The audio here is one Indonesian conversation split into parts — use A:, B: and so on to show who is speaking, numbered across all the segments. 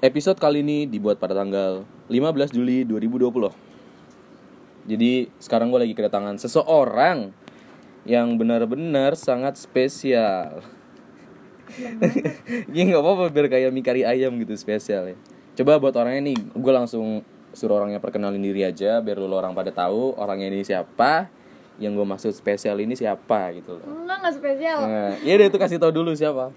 A: Episode kali ini dibuat pada tanggal 15 Juli 2020. Jadi sekarang gue lagi kedatangan seseorang yang benar-benar sangat spesial. Ini nggak apa-apa biar kayak mie kari ayam gitu spesial ya. Coba buat orangnya nih, gue langsung suruh orangnya perkenalin diri aja biar dulu orang pada tahu orangnya ini siapa, yang gue maksud spesial ini siapa gitu loh.
B: Enggak, enggak spesial.
A: Nah, ya deh itu kasih tau dulu siapa.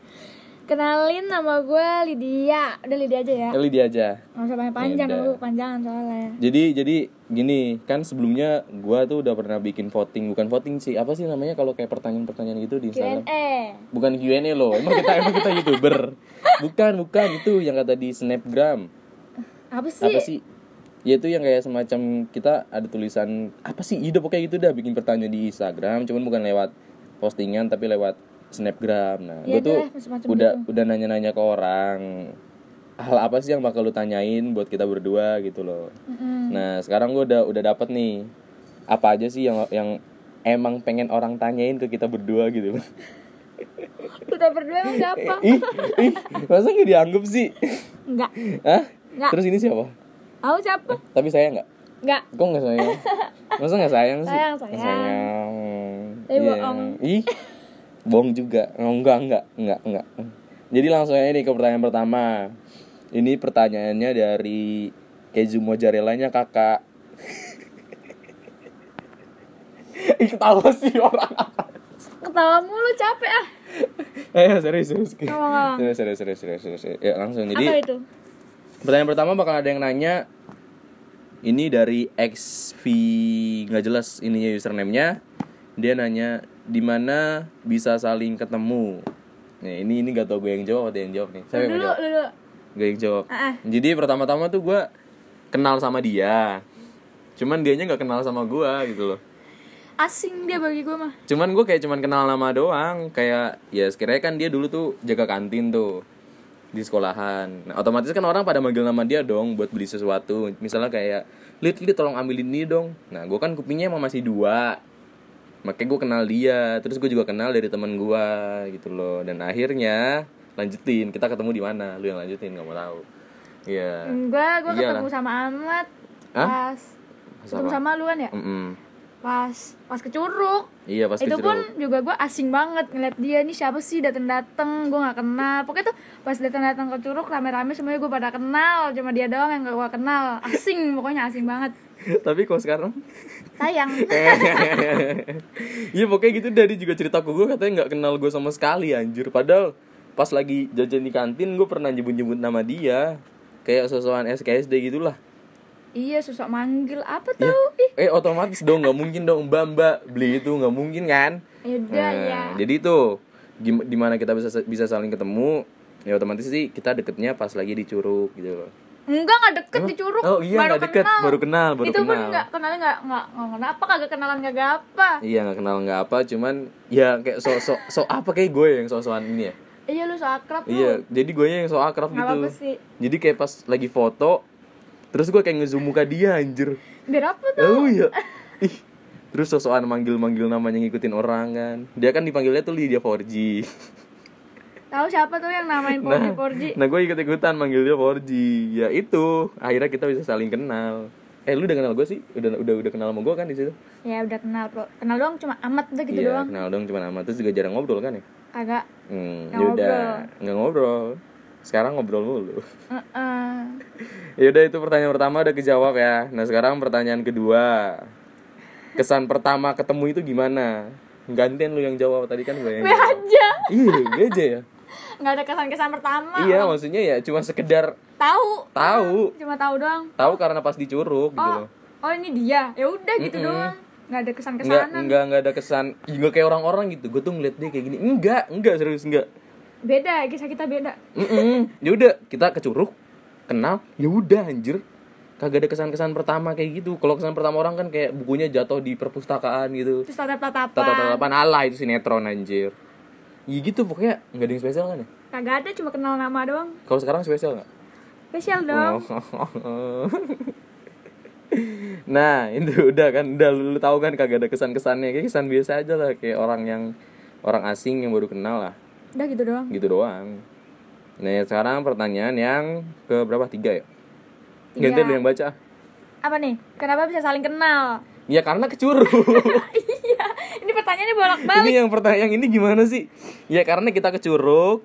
B: Kenalin nama gue Lydia. Udah Lydia aja ya.
A: Eli dia aja.
B: Nggak usah panjang-panjang,
A: Ya, udah.
B: lu panjangan soalnya.
A: Jadi jadi gini kan sebelumnya gua tuh udah pernah bikin voting bukan voting sih apa sih namanya kalau kayak pertanyaan-pertanyaan gitu di Instagram
B: Q&A.
A: bukan Q&A loh emang kita emang kita youtuber bukan bukan itu yang kata di snapgram
B: Apa sih?
A: apa sih ya itu yang kayak semacam kita ada tulisan apa sih ide pokoknya gitu dah bikin pertanyaan di Instagram cuman bukan lewat postingan tapi lewat snapgram nah
B: Ya,
A: gua tuh
B: adalah, semacam gitu.
A: udah udah nanya-nanya ke orang hal apa sih yang bakal lu tanyain buat kita berdua gitu loh
B: Mm-mm.
A: Nah sekarang gue udah udah dapet nih apa aja sih yang yang emang pengen orang tanyain ke kita berdua gitu.
B: Kita berdua emang gampang.
A: ih, ih, masa gak dianggap sih?
B: Enggak.
A: Hah?
B: Nggak.
A: Terus ini siapa?
B: Aku siapa?
A: Tapi saya nggak.
B: Enggak.
A: Kok nggak sayang? Masa nggak sayang sih?
B: Sayang,
A: Nggak
B: sayang.
A: sayang.
B: Tapi
A: Iya.
B: bohong.
A: Ih, bohong juga. Oh, enggak, enggak, enggak, enggak. Jadi langsung aja nih ke pertanyaan pertama. Ini pertanyaannya dari keju mozzarella-nya kakak. Ih, ketawa sih orang.
B: Ketawa mulu capek ah.
A: Eh, serius, serius.
B: Ngomong-ngomong.
A: Serius, serius, serius, serius, serius. Ya, langsung. Jadi,
B: Apa itu?
A: Pertanyaan pertama bakal ada yang nanya ini dari XV nggak jelas ininya username-nya. Dia nanya di mana bisa saling ketemu. Nih, ini ini gak tau gue yang jawab atau dia yang jawab nih. Siapa yang
B: Dulu,
A: jawab?
B: dulu.
A: Gue yang jawab.
B: Ah, ah.
A: Jadi pertama-tama tuh gue kenal sama dia. Cuman dianya nggak kenal sama gue gitu loh.
B: Asing dia bagi gue mah.
A: Cuman gue kayak cuman kenal nama doang Kayak ya sekiranya kan dia dulu tuh jaga kantin tuh Di sekolahan nah, Otomatis kan orang pada manggil nama dia dong buat beli sesuatu Misalnya kayak Lid, Lid tolong ambilin ini dong Nah gue kan kupingnya emang masih dua Makanya gue kenal dia Terus gue juga kenal dari teman gue gitu loh Dan akhirnya lanjutin Kita ketemu di mana Lu yang lanjutin gak mau tahu Iya
B: Enggak, gue
A: Iyalah.
B: ketemu sama Ahmad.
A: Hah?
B: Pas
A: Pas
B: ketemu
A: apa?
B: sama lu kan ya?
A: Mm-mm.
B: Pas pas ke Curug.
A: Iya pasti
B: itu pun juga gue asing banget ngeliat dia nih siapa sih dateng dateng gue nggak kenal pokoknya tuh pas dateng dateng ke curug rame rame semuanya gue pada kenal cuma dia doang yang gak gue kenal asing pokoknya asing banget
A: Tapi kok sekarang
B: sayang
A: Eh. Iya pokoknya gitu dari juga cerita ke gue katanya nggak kenal gue sama sekali anjir padahal pas lagi jajan di kantin gue pernah nyebut-nyebut nama dia kayak sosokan SKSD gitulah
B: iya susah manggil apa tuh ih
A: eh otomatis dong nggak mungkin dong mbak mbak beli itu nggak mungkin kan
B: yaudah
A: Nah,
B: ya
A: jadi tuh gim- dimana kita bisa bisa saling ketemu ya otomatis sih kita deketnya pas lagi di curug gitu loh
B: enggak nggak deket di curug
A: oh iya nggak deket baru kenal baru
B: itu pun
A: kenal
B: nggak kenalnya nggak nggak nggak kenapa kagak kenalan kagak apa
A: iya nggak kenal nggak apa cuman ya kayak sok sok sok apa kayak gue yang sosokan ini ya
B: iya lu so akrab lu
A: Iya, jadi gue yang so akrab
B: nggak
A: gitu.
B: apa sih
A: Jadi kayak pas lagi foto, terus gue kayak ngezoom muka dia anjir.
B: biar apa
A: Oh
B: tuh
A: iya. Ih. Terus sosokan manggil-manggil namanya ngikutin orang kan. Dia kan dipanggilnya tuh Lydia 4G.
B: tahu siapa tuh yang namain porji porji
A: Nah, gue ikut-ikutan manggil dia 4G. Ya itu, akhirnya kita bisa saling kenal. Eh, lu udah kenal gue sih? Udah udah udah kenal sama gue kan di situ?
B: ya udah kenal bro kenal doang cuma amat udah gitu
A: iya,
B: doang
A: kenal dong cuma nama. Terus juga jarang ngobrol kan ya?
B: kagak
A: Hmm,
B: Nggak
A: yaudah, nggak ngobrol. Sekarang ngobrol mulu.
B: Heeh.
A: Yaudah itu pertanyaan pertama Ya udah kejawab ya. Nah sekarang pertanyaan kedua. Kesan pertama ketemu itu gimana? Gantian lu yang jawab tadi kan gue yang jawab.
B: aja
A: Iya, gue aja ya.
B: nggak ada kesan-kesan pertama
A: Iya, maksudnya ya cuma sekedar
B: tahu
A: tahu,
B: cuma tahu doang
A: tahu karena pas dicuruk gitu
B: oh
A: loh.
B: oh ini dia ya udah gitu doang nggak ada
A: Enggak,
B: kesan-kesanan
A: enggak, enggak ada kesan. Ih, Nggak kayak orang-orang gitu. Gue tuh ngeliat dia kayak gini. Enggak, enggak serius enggak.
B: beda kisah kita beda
A: Mm Yaudah, kita kecuruk, kenal, yaudah anjir. Kagak ada kesan-kesan pertama kayak gitu. Kalau kesan pertama orang kan kayak bukunya jatuh di perpustakaan gitu.
B: terus tatap-tatapan
A: Tata-tatapan ala itu sinetron anjir Ya gitu pokoknya nggak ada yang spesial kan ya
B: kagak ada cuma kenal nama doang
A: Kalau sekarang spesial nggak? Oh,
B: spesial dong
A: nah itu udah kan udah lu, lu tahu kan kagak ada kesan-kesannya kayak kesan biasa aja lah kayak orang yang orang asing yang baru kenal lah
B: udah gitu doang
A: gitu doang Nah sekarang pertanyaan yang ke berapa tiga ya?
B: Tiga.
A: Ganti dulu yang baca.
B: Apa nih? Kenapa bisa saling kenal?
A: Ya karena kecuru.
B: iya, ini pertanyaannya bolak-balik.
A: ini yang pertanyaan yang ini gimana sih? Ya karena kita kecuruk.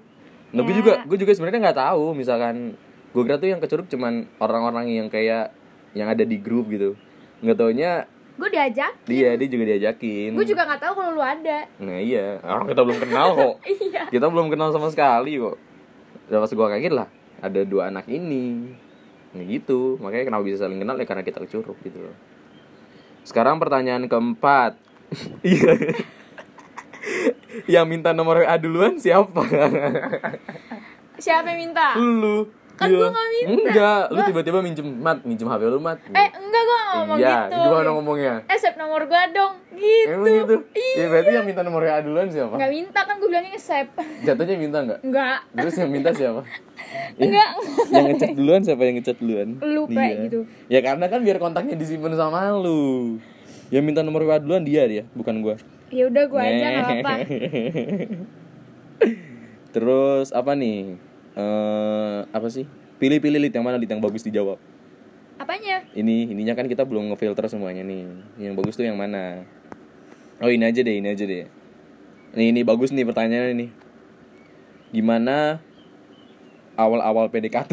A: Nah, gue
B: Ya.
A: juga gue juga sebenarnya nggak tahu misalkan gue kira tuh yang kecuruk cuman orang-orang yang kayak yang ada di grup gitu. Nggak taunya
B: Gue diajak,
A: dia dia juga diajakin.
B: gue juga nggak tahu kalau lu ada.
A: Nah iya, orang kita belum kenal kok.
B: Iya.
A: Kita belum kenal sama sekali kok. Udah pas gua kaget lah, ada dua anak ini. Nah gitu, makanya kenapa bisa saling kenal ya karena kita kecuruk gitu loh. Sekarang pertanyaan keempat. Iya. Yang minta nomor WA duluan siapa?
B: Siapa yang minta?
A: lu.
B: Kan
A: Iya.
B: gua nggak minta.
A: Enggak, lu
B: Gua-
A: tiba-tiba minjem mat, minjem HP lu mat.
B: Eh, enggak gue ngomong
A: iya,
B: gitu.
A: gimana ngomongnya?
B: Eh, save nomor gue dong. Gitu. Iya.
A: Emang gitu? Ya berarti yang minta nomor WA duluan siapa?
B: Nggak minta kan gue bilangnya save.
A: Jatuhnya minta nggak?
B: Enggak.
A: Terus yang minta siapa? Iya.
B: Enggak.
A: yang ngechat duluan siapa yang ngechat duluan?
B: Lu, Pe,
A: Dia.
B: gitu.
A: Ya karena kan biar kontaknya disimpan sama lu. Yang minta nomor WA duluan dia dia, bukan gua.
B: Ya udah gue aja
A: Iya.
B: nggak apa-apa.
A: Terus apa nih? Eh apa sih? Pilih-pilih lead yang mana lead yang bagus dijawab.
B: Apanya?
A: Ini ininya kan kita belum ngefilter semuanya nih. Yang bagus tuh yang mana? Oh, ini aja deh, ini aja deh. Nih, ini bagus nih pertanyaannya nih. Gimana awal-awal PDKT?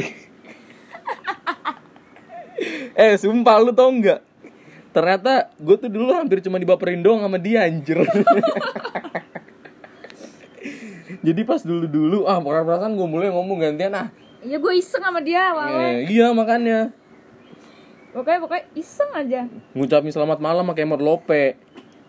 A: eh, sumpah lu tau nggak? Ternyata gue tuh dulu hampir cuma dibaperin doang sama dia anjir. Jadi pas dulu-dulu ah perasaan gue mulai ngomong gantian ah.
B: Ya gue iseng sama dia awalnya.
A: Eh, iya makanya.
B: Pokoknya pokoknya iseng aja.
A: ngucapin selamat malam pakai emot lope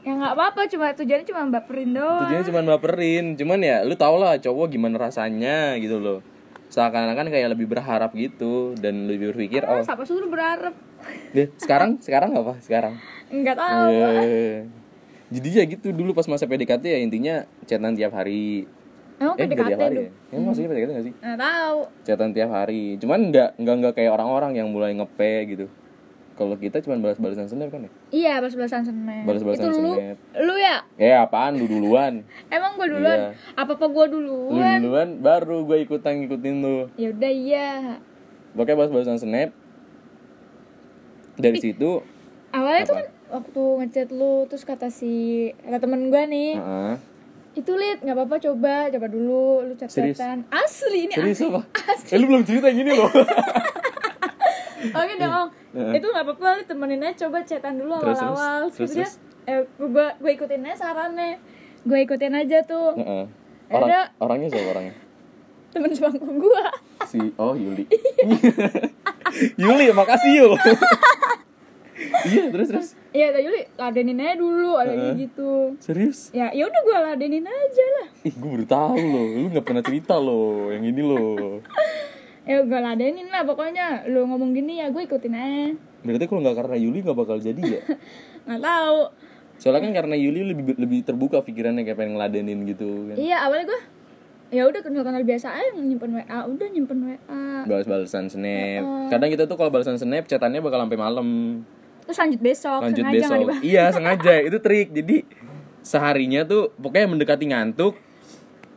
B: Ya nggak apa-apa. Cuma tujuannya cuma baperin doang.
A: tujuannya cuma baperin cuman ya lu tau lah cowok gimana rasanya gitu loh seakan-akan kayak lebih berharap gitu dan lebih berpikir
B: Ah,
A: oh
B: Siapa suruh berharap?
A: deh sekarang sekarang apa sekarang
B: Enggak tahu.
A: Eh, jadi ya gitu dulu pas masa PDKT ya intinya chatan tiap hari
B: Emang
A: eh nggak
B: PDKT
A: tiap hari
B: lu?
A: ya Emang maksudnya PDKT gak sih
B: Nggak tahu.
A: chatan tiap hari cuman nggak nggak nggak kayak orang-orang yang mulai ngepe gitu kalau kita cuman balas-balasan snap kan ya
B: Iya, balas-balasan semen.
A: Balas-balasan
B: Itu lu,
A: semen.
B: lu ya?
A: eh apaan lu duluan
B: Emang gue duluan?
A: Iya.
B: Apa-apa gue
A: lu
B: duluan?
A: duluan baru gue ikutan ngikutin lu
B: Ya udah iya.
A: Pokoknya bahas-bahasan snap Dari situ
B: Awalnya tuh kan waktu ngechat lu terus kata si kata temen gue nih,
A: Heeh.
B: itu lit nggak apa-apa coba coba dulu lu
A: Serius?
B: catatan asli ini
A: Serius
B: asli.
A: apa? Eh lu belum cerita gini loh
B: Oke dong.
A: Iya. Heeh.
B: itu nggak apa-apa lu temenin aja coba chatan dulu
A: Terus,
B: awal-awal.
A: terus,
B: Terus, dia, eh gue gue ikutin aja sarannya. Gue ikutin aja tuh
A: Heeh. Orang,
B: Ada.
A: Orangnya siapa orangnya?
B: temen sebangku gue.
A: Si, oh Yuli Yuli, makasih Yul Iya, terus terus
B: Iya, tadi lu ladenin aja dulu ada gitu.
A: Serius?
B: Ya, ya udah gue ladenin aja lah.
A: Ih, gue baru tahu loh Lu gak pernah cerita loh Yang ini loh
B: Ya gue ladenin lah pokoknya lu ngomong gini ya gue ikutin aja.
A: Berarti kalau gak karena Yuli gak bakal jadi ya?
B: Nggak tahu.
A: Soalnya kan karena Yuli lebih lebih terbuka pikirannya kayak pengen ngeladenin gitu kan
B: Iya, awalnya gue ya udah kenal-kenal biasa aja nyimpen WA, udah nyimpen WA.
A: Balas-balasan snap Kadang kita tuh kalau balasan snap chatannya bakal sampai malam
B: Terus lanjut besok,
A: lanjut
B: sengaja nggak
A: besok
B: dibahas.
A: iya sengaja itu trik jadi seharinya tuh pokoknya mendekati ngantuk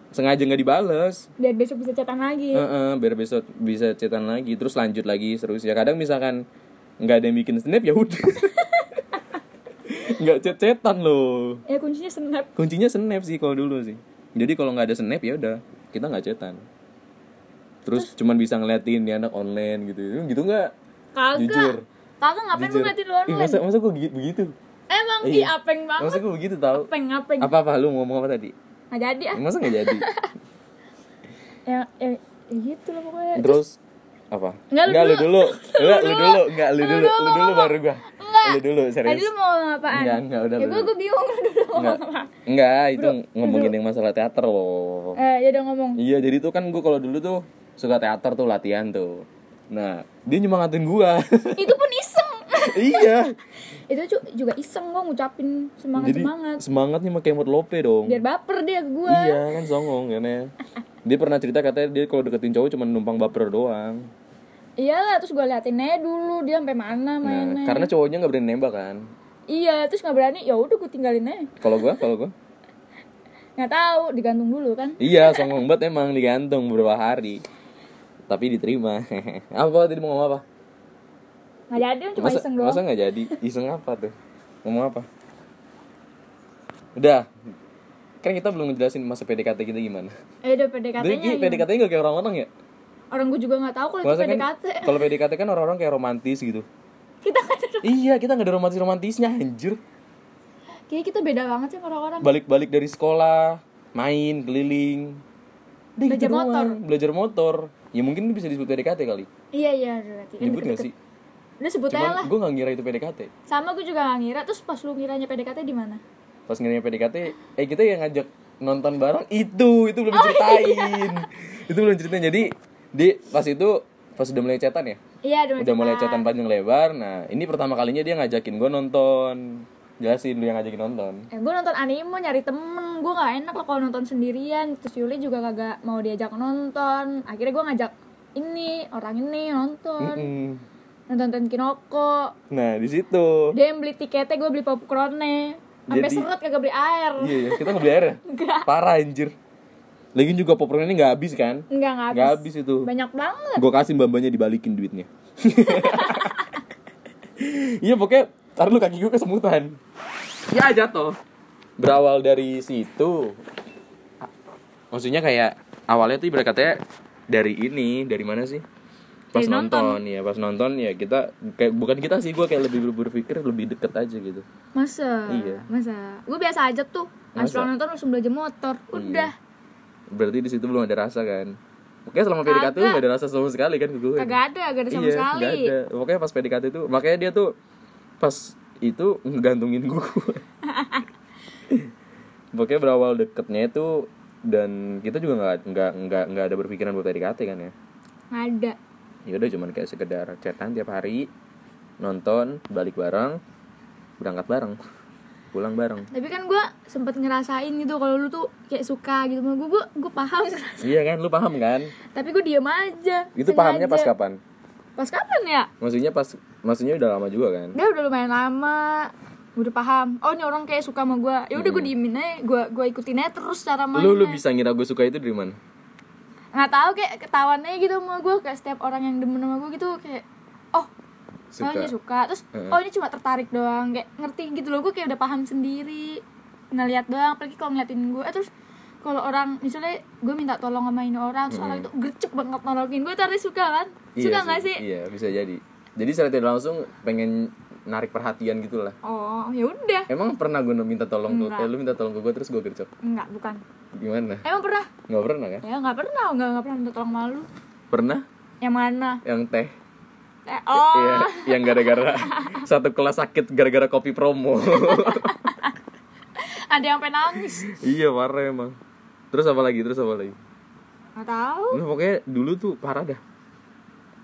A: sengaja nggak dibales
B: Biar besok bisa catatan lagi.
A: Heeh, biar besok bisa cetan lagi terus lanjut lagi terus ya kadang misalkan nggak ada yang bikin snap ya udah nggak cet cetan loh
B: Ya kuncinya snap.
A: kuncinya snap sih kalau dulu sih jadi kalau nggak ada snap ya udah kita nggak cetan terus cuman bisa ngeliatin nih anak online gitu gitu nggak
B: Kagak.
A: Jujur.
B: Kagak ngapain lu
A: Jujur.
B: ngeliatin lu
A: Ih,
B: online?
A: masa masa gue begitu
B: Emang
A: Iya.
B: di apeng banget.
A: masa gue begitu tau
B: Apeng apeng.
A: apa apa lu ngomong apa tadi
B: Nggak jadi ah.
A: masa nggak jadi
B: Ya, ya, ya gitu lah pokoknya.
A: terus apa
B: Nggak, lu
A: lu dulu nggak lu
B: Lu
A: dulu
B: dulu.
A: nggak lu
B: Lu
A: dulu
B: dulu,
A: lu dulu baru gua
B: Nggak.
A: lu dulu
B: Tadi
A: serius
B: lu mau ngomong apaan?
A: Nggak, nggak, udah,
B: Ya gue
A: udah.
B: gue bingung lu dulu mau
A: Nggak.
B: ngomong apa.
A: nggak itu ngomongin yang masalah teater loh
B: Eh, ya udah ngomong.
A: iya jadi tuh kan gua kalau dulu tuh suka teater tuh latihan tuh nah dia nyemangatin gua
B: itu pun iseng.
A: iya
B: itu ju- juga iseng gue ngucapin
A: jadi
B: semangat-semangat.
A: semangatnya pakai emot lope dong
B: Biar baper dia ke gue.
A: iya kan songong kan ya dia pernah cerita katanya dia kalau deketin cowok cuma numpang baper doang
B: Iyalah, terus gue liatin aja dulu dia sampai
A: nah,
B: mana mainnya.
A: karena cowoknya nggak berani nembak kan
B: Iya, terus nggak berani, ya udah gue tinggalin aja.
A: kalau gua kalau gua
B: Nggak tahu, digantung dulu kan.
A: Iya, songong banget emang digantung beberapa hari. tapi diterima apa tadi mau ngomong apa
B: nggak jadi cuma
A: masa
B: iseng
A: masa
B: doang
A: nggak jadi iseng apa tuh ngomong apa udah kan kita belum ngejelasin masa PDKT kita gimana
B: eh udah
A: Jadi
B: PDKT-nya
A: PDKT nya gak kayak orang-orang ya
B: orang gue juga nggak tahu kalau itu
A: Masa kan
B: PDKT
A: kalau PDKT kan orang-orang kayak romantis gitu
B: kita kan
A: iya kita nggak ada romantis romantisnya anjir
B: kayaknya kita beda banget sih sama orang-orang
A: balik-balik dari sekolah main keliling Udah gitu
B: Belajar motor.
A: doang. belajar motor ya mungkin bisa disebut PDKT kali
B: iya iya berarti kan
A: nyebut nggak sih
B: udah sebut aja lah
A: cuman gue nggak ngira itu PDKT
B: sama gue juga nggak ngira terus pas lu ngiranya PDKT di mana
A: pas ngiranya PDKT eh kita yang ngajak nonton bareng itu
B: Oh,
A: itu belum
B: iya.
A: ceritain itu belum ceritain jadi di pas itu pas udah mulai chatan ya
B: iya udah
A: udah mulai chatan panjang lebar nah ini pertama kalinya dia ngajakin gue nonton jelasin lu yang ngajakin nonton
B: Eh, gue nonton anime nyari temen Gue gak enak lah kalau nonton sendirian Terus Yuli juga kagak mau diajak nonton Akhirnya gue ngajak ini, orang ini nonton
A: Mm-mm.
B: Nonton Kinoko
A: Hmm. nah di situ
B: Dia yang beli tiketnya, gue beli popcornnya Sampai
A: Jadi-
B: seret kagak beli air
A: iya iya kita ngebeli air ya
B: Enggak,
A: parah anjir lagi juga popcorn ini nggak habis kan
B: enggak, enggak
A: nggak
B: habis.
A: habis itu
B: Banyak banget
A: gue kasih mbak-mbaknya dibalikin duitnya iya pokoknya taruh lu kaki gue kesemutan ya jatuh berawal dari situ maksudnya kayak awalnya tuh ibarat katanya dari ini dari mana sih pas
B: Dari
A: nonton.
B: nonton.
A: ya pas nonton ya kita kayak bukan kita sih gue kayak lebih berpikir lebih deket aja gitu
B: Masa?
A: Iya.
B: Masa? Gue biasa aja tuh Pas
A: Masa? Iya.
B: nonton langsung belajar motor Udah,
A: berarti di situ belum ada rasa kan Pokoknya selama PDKT tuh
B: Kagak.
A: gak ada rasa sama sekali kan ke gue
B: kagak ada, kagak ada sama
A: iya,
B: sekali
A: nggak ada. Pokoknya pas PDKT itu, makanya dia tuh pas itu ngegantungin gue. Pokoknya berawal deketnya itu dan kita juga nggak nggak nggak nggak ada berpikiran buat PDKT kan ya.
B: Nggak ada
A: Ya udah cuman kayak sekedar chatan tiap hari, nonton, balik bareng, berangkat bareng, pulang bareng.
B: tapi kan gue sempet ngerasain gitu kalau lu tuh kayak suka gitu sama gue gue gue paham
A: Iya kan, lu paham kan?
B: tapi gue diem aja
A: Itu pahamnya pas
B: Sengaja.
A: kapan?
B: pas kapan ya
A: Maksudnya pas maksudnya udah lama juga kan?
B: dia udah lumayan lama Gua udah paham oh ini orang kayak suka sama gue ya udah gue diemin aja gue gue ikutin aja terus cara mainnya
A: Hmm. Lu lu bisa ngira gue suka itu dari mana?
B: nggak tahu kayak ketahuan aja gitu sama gue kayak setiap orang yang demen sama gue gitu kayak oh
A: Suka.
B: oh ini suka terus
A: Heeh.
B: oh ini cuma tertarik doang kayak ngerti gitu loh gue kayak udah paham sendiri ngeliat doang apalagi kalau ngeliatin gue eh, terus kalau orang misalnya gue minta tolong sama ini orang terus orang itu gercep banget nolongin gue tadi suka kan suka nggak sih
A: Hmm. Iya, bisa jadi. Jadi secara tidak langsung pengen narik perhatian gitu lah.
B: oh ya udah
A: Emang pernah gue minta tolong ke
B: Enggak.
A: eh, lu minta tolong ke gue terus gue gercep.
B: nggak bukan
A: Gimana?
B: emang pernah
A: Nggak pernah kan?
B: ya nggak pernah nggak nggak pernah minta tolong malu
A: Pernah
B: yang mana
A: yang teh.
B: eh, oh
A: Iya, yang gara-gara satu kelas sakit gara-gara kopi promo.
B: ada yang pengen nangis
A: iya, parah emang. Terus apa lagi? Terus apa lagi?
B: nggak tahu
A: Nah, pokoknya dulu tuh parah dah.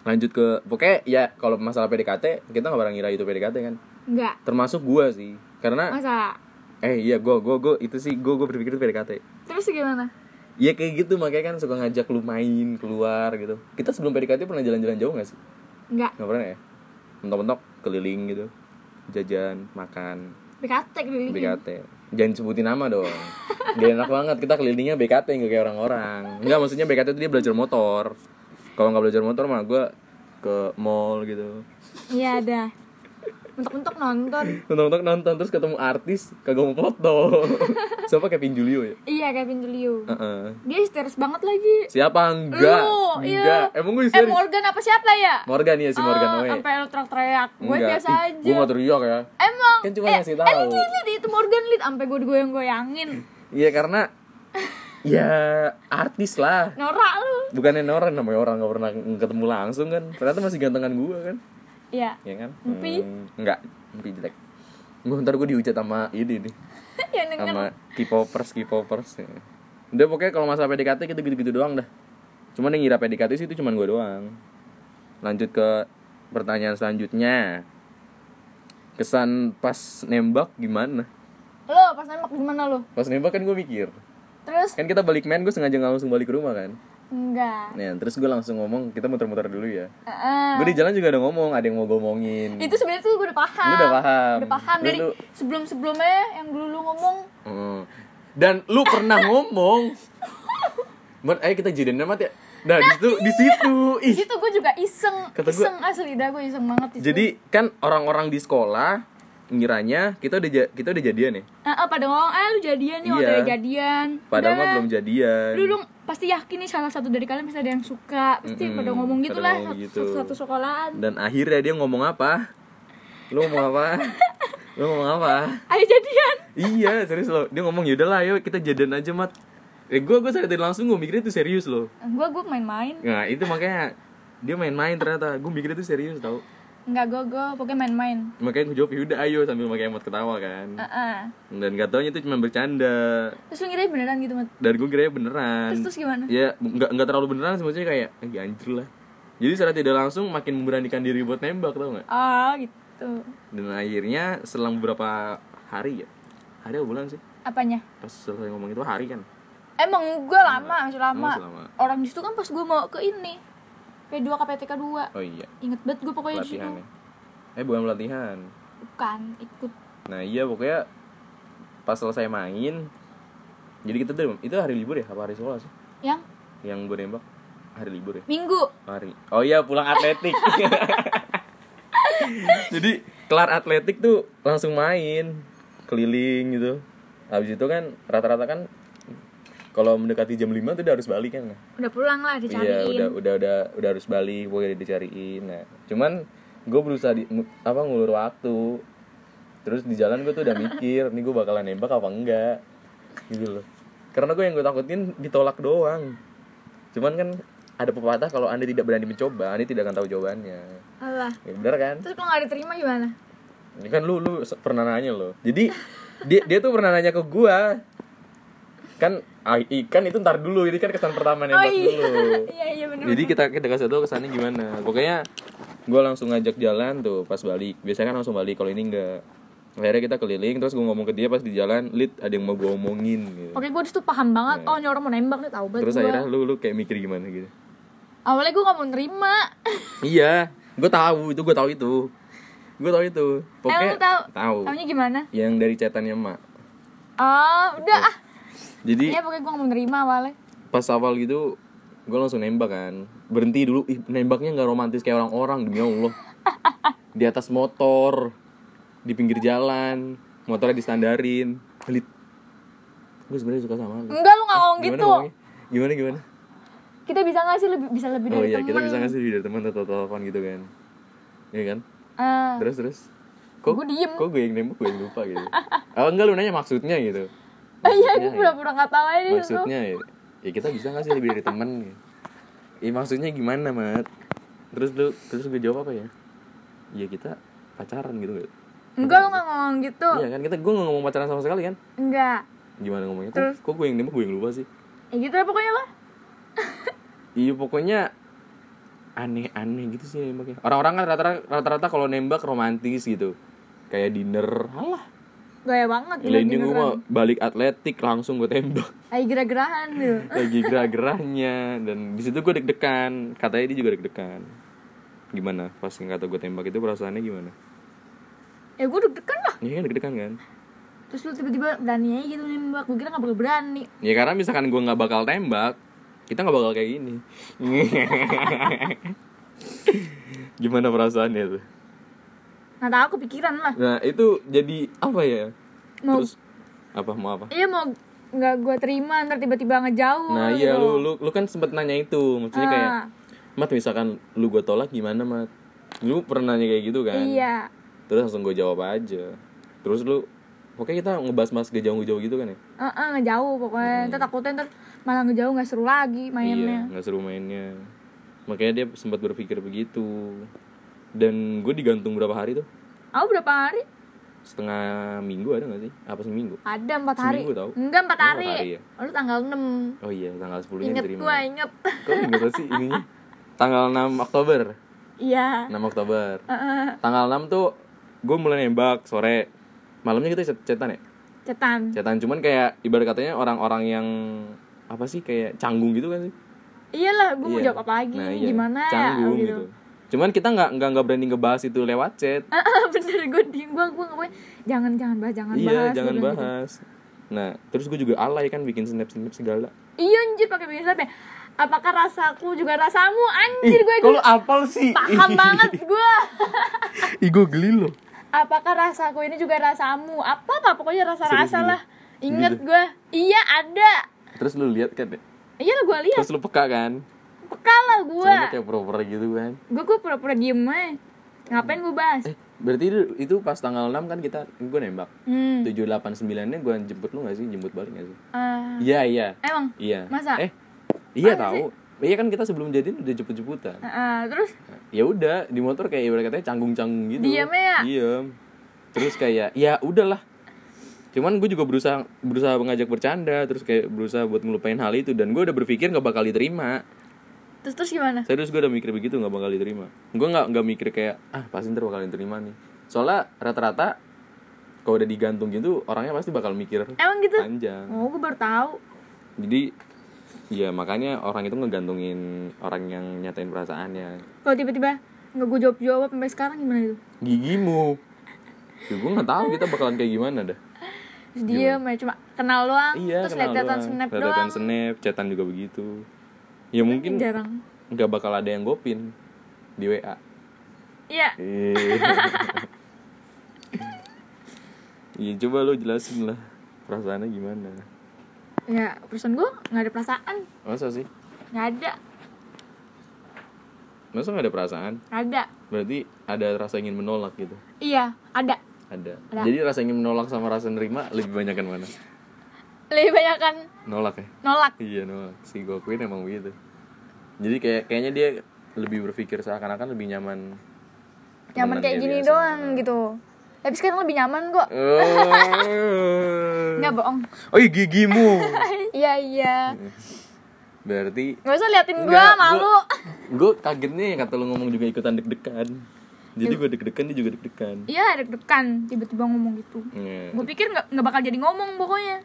A: Lanjut ke pokoknya ya kalau masalah PDKT, kita nggak pernah ngira itu PDKT kan.
B: nggak
A: Termasuk gua sih. Karena
B: masa
A: eh iya gua gua gua itu sih gua gua berpikir itu PDKT.
B: terus gimana
A: Iya kayak gitu makanya kan suka ngajak lu main keluar gitu. Kita sebelum PDKT pernah jalan-jalan jauh gak sih?
B: nggak
A: Gak pernah ya? Mentok-mentok keliling gitu, jajan, makan,
B: BKT keliling
A: BKT. Jangan sebutin nama dong. Gak enak banget kita kelilingnya BKT nggak kayak orang-orang. Enggak maksudnya BKT itu dia belajar motor. Kalau nggak belajar motor mah gue ke mall gitu.
B: Iya ada. Mentok-mentok nonton.
A: Mentok-mentok nonton terus ketemu artis kagak mau foto. Siapa Kevin Julio ya?
B: Iya Kevin Julio.
A: Heeh.
B: Dia histeris banget lagi.
A: Siapa enggak?
B: Lu, iya.
A: enggak. Emang gue
B: Eh
A: histeris.
B: Morgan apa siapa ya?
A: Morgan ya si Morgan
B: Ah,
A: Oe.
B: Sampai lo teriak-teriak. Gue biasa aja.
A: Gue gak teriak ya
B: Emang.
A: Kan cuma ngasih tahu.
B: Eh lu gila deh itu Morgan lid sampai gue digoyang-goyangin.
A: Iya karena Ya artis lah
B: Norak lu.
A: Bukannya orang namanya orang gak pernah ketemu langsung kan Ternyata masih gantengan gue kan
B: Iya.
A: Iya kan
B: Empi.
A: Hmm, Enggak Empi jelek Gue ntar gue dihujat sama ini nih
B: Yang denger
A: Sama K-popers K-popers ya. Udah pokoknya kalau masalah PDKT kita gitu-gitu doang dah Cuman yang ngira PDKT sih itu cuman gue doang Lanjut ke pertanyaan selanjutnya Kesan pas nembak gimana?
B: lo pas nembak gimana lo?
A: Pas nembak kan gue mikir
B: Terus
A: Kan kita balik main, gue sengaja nggak langsung balik ke rumah kan
B: enggak.
A: Nah, terus gue langsung ngomong, kita muter-muter dulu ya
B: Heeh.
A: Gue di jalan juga ada ngomong, ada yang mau gue omongin
B: Itu sebenarnya tuh gue udah paham.
A: Lu udah paham.
B: Udah paham
A: Lu
B: dari
A: tuh-
B: sebelum-sebelumnya yang dulu lu ngomong
A: Oh. Hmm. Dan lu pernah ngomong Buat, ayo kita jadian amat ya Nah, di situ di situ. Ih.
B: Itu gue juga iseng,
A: Kata gua-
B: iseng asli dah gue iseng banget itu.
A: Jadi kan orang-orang di sekolah ngiranya kita udah ja- kita udah jadian ya.
B: ah, ah, pada ngomong, ah lu jadian nih,
A: Iya.
B: udah jadian.
A: Padahal
B: Udah
A: mah
B: lah.
A: belum jadian.
B: Lu, lu pasti yakin nih salah satu dari kalian pasti ada yang suka. Pasti
A: Mm-mm,
B: pada ngomong
A: pada
B: gitu lah,
A: ngomong
B: satu,
A: gitu.
B: satu- satu sekolahan.
A: Dan akhirnya dia ngomong apa? Lu ngomong apa? Lu ngomong apa?
B: Ayo jadian.
A: iya, serius loh. Dia ngomong yaudah lah, ayo kita jadian aja, Mat. Eh, gue gue sadar langsung gue mikirnya itu serius loh.
B: Gue gue main-main,
A: Nah, itu makanya dia main-main ternyata. Gue mikirnya itu serius tau.
B: nggak gue gue pokoknya main-main.
A: Makanya gue jawab yaudah ayo sambil pakai emot ketawa kan.
B: Ah, ah.
A: Dan gak taunya itu cuma bercanda.
B: Terus lu ngira beneran gitu, Mat.
A: Dan gue kira beneran.
B: Terus terus gimana?
A: ya nggak nggak terlalu beneran sih maksudnya kayak lagi anjir lah jadi secara tidak langsung makin memberanikan diri buat nembak tau nggak
B: Ah, gitu.
A: dan akhirnya selang beberapa hari ya hari atau bulan sih
B: Apanya?
A: pas selesai ngomong itu hari kan
B: Emang gue lama, masih lama.
A: Emang masih lama.
B: Orang di situ kan pas gue mau ke ini. P2 KPTK 2.
A: oh iya
B: Ingat banget gue pokoknya gitu. di situ.
A: pelatihan ya eh bukan pelatihan
B: Bukan, ikut.
A: nah iya pokoknya pas selesai main jadi kita tuh itu hari libur ya apa hari sekolah sih
B: Yang
A: yang gue nembak hari libur ya
B: minggu.
A: Mari. Oh iya pulang atletik. Jadi kelar atletik tuh langsung main keliling gitu. Habis itu kan rata-rata kan kalau mendekati jam 5 tuh udah harus balik kan.
B: Udah pulang lah
A: Iya,
B: dicariin.
A: udah udah udah udah harus balik, gue udah dicariin. Nah, cuman gue berusaha di, ngu- apa ngulur waktu. Terus di jalan gue tuh udah mikir, nih gue bakalan nembak apa enggak. Gitu loh. Karena gue yang gue takutin ditolak doang. Cuman kan ada pepatah kalau Anda tidak berani mencoba, Anda tidak akan tahu jawabannya.
B: Alah.
A: Ya, bener kan?
B: Terus kalau nggak diterima gimana?
A: Ini kan lu lu se- pernah nanya lo. Jadi dia dia tuh pernah nanya ke gua. Kan ah, i- kan itu ntar dulu, ini kan kesan pertama nembak dulu.
B: iya iya bener.
A: Jadi kita kita kasih tahu kesannya gimana. Pokoknya gue langsung ngajak jalan tuh pas balik. Biasanya kan langsung balik kalau ini enggak. Akhirnya kita keliling terus gue ngomong ke dia pas di jalan, "Lid, ada yang mau gue omongin." gitu.
B: Oke, gue disitu paham banget. Oh, ini orang mau nembak nih, tahu
A: Iya.
B: banget.
A: Terus
B: gua.
A: akhirnya lu lu kayak mikir gimana gitu.
B: Awalnya gue gak mau nerima.
A: iya, gue tahu itu, gue tahu itu. Gue tahu itu. Pokoknya
B: Eh, lu tahu?
A: tahu.
B: Taunya gimana?
A: Yang dari cetannya emak.
B: Oh, udah ah.
A: Jadi
B: Iya, pokoknya gue gak mau nerima awalnya.
A: pas awal gitu gue langsung nembak kan berhenti dulu ih nembaknya nggak romantis kayak orang-orang demi allah di atas motor di pinggir jalan motornya distandarin pelit gue sebenarnya suka sama lu
B: Enggak, lu gak ngomong
A: gimana
B: gitu.
A: ngomongnya? gimana gimana
B: Kita bisa gak sih lebih bisa lebih
A: oh
B: dari
A: iya
B: temen?
A: kita bisa ngasih dari teman atau telepon gitu kan iya kan
B: Ah.
A: terus terus kok
B: Gua diem.
A: kok gue yang nembak gue yang lupa gitu oh enggak lu nanya maksudnya gitu
B: Ah, iya, gue
A: Maksudnya,
B: pura-pura gak tau aja dulu.
A: maksudnya ya, ya kita bisa nggak sih lebih dari temen ya Eh, maksudnya gimana mat terus lu terus gue jawab apa ya ya kita pacaran gitu nggak?
B: Enggak, lu gak ngomong gitu.
A: iya kan kita gue nggak ngomong pacaran sama sekali kan
B: Enggak.
A: gimana ngomongnya kok, kok gue yang nembak gue yang lupa sih
B: Ya gitu lah pokoknya lah.
A: iya pokoknya aneh-aneh gitu sih nembaknya orang-orang kan rata-rata rata-rata kalau nembak romantis gitu kayak dinner alah
B: Gaya banget. gitu.
A: Gila, Iya, ini gue mau balik atletik langsung gue tembak
B: Ayo gerah-gerahan gitu.
A: lagi gerah-gerahnya dan di situ gue deg-degan katanya dia juga deg-degan gimana pas yang kata gue tembak itu perasaannya gimana
B: Ya gue deg-degan lah.
A: ya kan deg-degan kan
B: Terus lu tiba-tiba berani aja gitu nembak. Gue kira gak bakal berani.
A: ya karena misalkan gue nggak bakal tembak kita nggak bakal kayak gini gimana perasaannya tuh
B: Nah, tahu aku pikiran lah.
A: nah itu jadi apa ya
B: Mau
A: terus apa mau apa
B: Iya mau nggak gue terima ntar tiba-tiba ngejauh
A: nah
B: gitu.
A: iya lu lu lu kan sempet nanya itu maksudnya kayak
B: Ah.
A: mat misalkan lu gue tolak gimana mat lu pernah nanya kayak gitu kan
B: Iya
A: terus langsung gue jawab aja terus lu pokoknya kita ngebahas mas gak jauh jauh gitu kan ya
B: Eh, eh, ngejauh pokoknya ntar takutnya ntar malah ngejauh nggak seru lagi
A: Hmm. iya
B: mainnya
A: nggak seru mainnya makanya dia sempat berpikir begitu dan gue digantung berapa hari tuh
B: Aku berapa hari?
A: setengah minggu ada gak sih apa seminggu
B: Ada empat hari
A: Seminggu tau.
B: Enggak empat
A: Oh,
B: hari,
A: empat hari ya?
B: Lu tanggal 6
A: oh iya tanggal 10 nya
B: Ingat
A: diterima
B: gue inget
A: kok inget banget sih ininya tanggal 6 Oktober
B: Iya
A: 6 Oktober tanggal 6 tuh gue mulai nembak sore malamnya kita cet- cetan ya
B: Hmm. Cetan
A: cetan cuman kayak ibarat katanya orang-orang yang apa sih kayak canggung gitu kan sih
B: Iyalah gue mau
A: Iya.
B: jawab apa lagi
A: Nah, iya.
B: Gimana ya
A: Canggung
B: Oh,
A: gitu. Cuman kita nggak nggak nggak berani ngebahas itu lewat chat.
B: Ah, ah, Bener gue diem gue gue gue Jangan jangan bahas jangan bahas
A: iya,
B: gua
A: jangan
B: bilang gitu.
A: bahas. Nah, terus gue juga alay kan bikin snap snap segala.
B: Iya anjir pakai bikin snap ya apakah rasaku juga rasamu anjir gue gue
C: Kalau apal sih.
B: paham banget gue
C: Ih, gue geli loh.
B: apakah rasaku ini juga rasamu apa apa pokoknya rasa rasa
A: gitu.
C: Serius,
B: lah inget gue iya ada
C: Terus lu lihat kan ya?
B: iya lah gue lihat
C: Terus lu peka kan?
B: peka lah gue
C: Cuman lu kayak pura-pura gitu kan.
B: gue gue pura-pura diem aja ngapain gue bahas
A: Eh, berarti itu, itu pas tanggal 6 kan kita gue nembak.
B: hmm
A: 789-nya gue jemput lu gak sih? Jemput balik gak sih?
B: ah,
A: Iya, iya.
B: emang
A: Iya.
B: Masa?
A: Eh, iya
B: Masa
A: tahu. Iya kan kita sebelum jadian udah jemput-jemputan.
B: Ah, ah, terus
A: Ya udah, di motor kayak ibarat katanya canggung-canggung gitu.
B: Diamnya ya?
A: Diem. Terus kayak ya udahlah. Cuman gue juga berusaha berusaha mengajak bercanda, terus kayak berusaha buat ngelupain hal itu dan gue udah berpikir gak bakal diterima.
B: terus terus gimana
A: Serius gue udah mikir begitu nggak bakal diterima. Gue nggak nggak mikir kayak ah pasti ntar bakal diterima nih. Soalnya rata-rata kalau udah digantung gitu orangnya pasti bakal mikir
B: emang gitu
A: panjang.
B: oh gue baru tahu
A: Jadi ya makanya orang itu ngegantungin orang yang nyatain perasaannya.
B: kalau tiba-tiba nggak gue jawab jawab sampai sekarang gimana gitu? itu
A: Gigimu. Ya, gue nggak tahu kita bakalan kayak gimana dah.
B: terus diem aja cuma kenal doang
A: Iya,
B: terus
A: kenal
B: lihat-lihatan
A: doang.
B: snap
A: Liat-liatan
B: doang
A: snap, chatan juga begitu. Ya mungkin
B: jarang
A: nggak bakal ada yang gopin di WA.
B: iya
A: Eh. Iya coba lo jelasin lah perasaannya gimana.
B: ya perasaan gue nggak ada perasaan
A: Masa sih?
B: nggak ada
A: Masa nggak ada perasaan?
B: nggak ada
A: Berarti ada rasa ingin menolak gitu.
B: iya ada
A: Ada.
B: Ada.
A: Jadi rasa ingin menolak sama rasa nerima lebih banyak kan mana?
B: lebih banyak kan
A: Nolak ya?
B: nolak
A: Iya nolak. Si Gokuin emang begitu. Jadi kayak kayaknya dia lebih berpikir seakan-akan lebih nyaman. temenan
B: nyaman kayak
A: dia
B: gini
A: ya, biasa.
B: doang gitu tapi sekarang lebih nyaman kok
A: Oh.
B: nggak bohong
A: Oi gigimu.
B: iya iya
A: Berarti
B: nggak usah liatin gue
A: Nggak,
B: malu
A: gua- Gue kaget nih kata lu ngomong juga ikutan deg-degan. Jadi gue deg-degan dia juga deg-degan.
B: iya deg-degan tiba-tiba ngomong gitu
A: Iya.
B: gue pikir nggak nggak bakal jadi ngomong pokoknya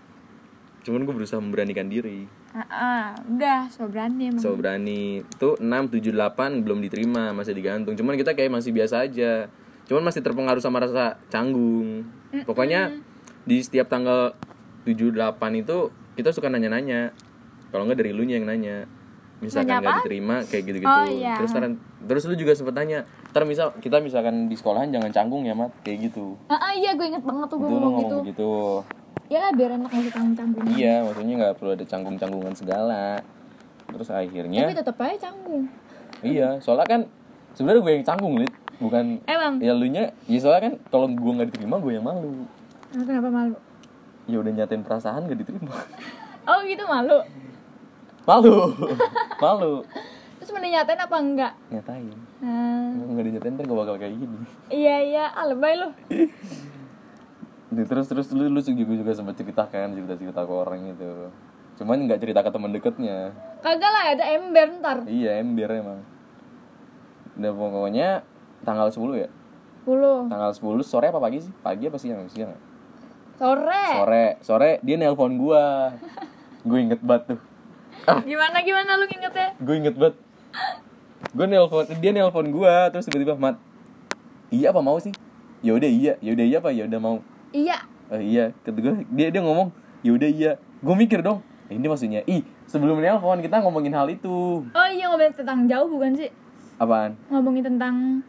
A: Cuman gue berusaha memberanikan diri.
B: ah, ah, udah so berani emang
A: So berani. Tuh 6 7 8 belum diterima, masih digantung. Cuman kita kayak masih biasa aja. Cuman masih terpengaruh sama rasa canggung. Pokoknya di setiap tanggal 7 8 itu kita suka nanya-nanya. Kalau enggak dari lu yang nanya. Misalkan
B: Nanya
A: nggak diterima kayak gitu-gitu.
B: Oh, iya.
A: Terus taran- terus lu juga sempet tanya, "Ntar misal kita misalkan di sekolahan jangan canggung ya, Mat." Kayak gitu.
B: ah, ah, iya gue inget banget tuh
A: Itu
B: gue
A: lu
B: ngomong Ya. gitu
A: ngomong begitu.
B: ya lah biar enak ngasih tanggung canggung
A: Iya, maksudnya nggak perlu ada canggung-canggungan segala. Terus akhirnya
B: tapi tetep aja canggung
A: Iya, soalnya kan sebenarnya gue yang canggung lid, bukan
B: emang
A: ya lu nya. Ya soalnya kan kalau gue nggak diterima gue yang malu.
B: Nah, kenapa malu
A: Ya udah nyatain perasaan gak diterima.
B: oh gitu malu
A: Malu, malu.
B: terus mending nyatain apa enggak
A: Nyatain,
B: nah,
A: Kalau nggak dinyatain ntar gue bakal kayak gini.
B: iya iya ah lebay lu
A: Nih, Nah, terus terus lu lu juga juga sempat ceritakan cerita cerita ke orang gitu. Cuman nggak cerita ke teman deketnya.
B: kagak lah ada ember ntar
A: Iya ember emang. Udah pokoknya tanggal 10 ya.
B: puluh
A: Tanggal 10 sore apa pagi sih? Pagi apa siang? Siang. ya?
B: sore
A: sore sore dia nelpon gua gue inget banget tuh
B: gimana gimana lu ngingetnya
A: gue inget banget gue nelpon dia nelpon gua terus tiba-tiba mat iya apa mau sih ya udah iya ya udah iya apa ya udah mau
B: iya
A: Eh, iya kata gua, dia dia ngomong ya udah iya gue mikir dong "Eh, ini maksudnya ih sebelum nelpon kita ngomongin hal itu
B: oh iya ngomongin tentang jauh bukan sih
A: apaan
B: ngomongin tentang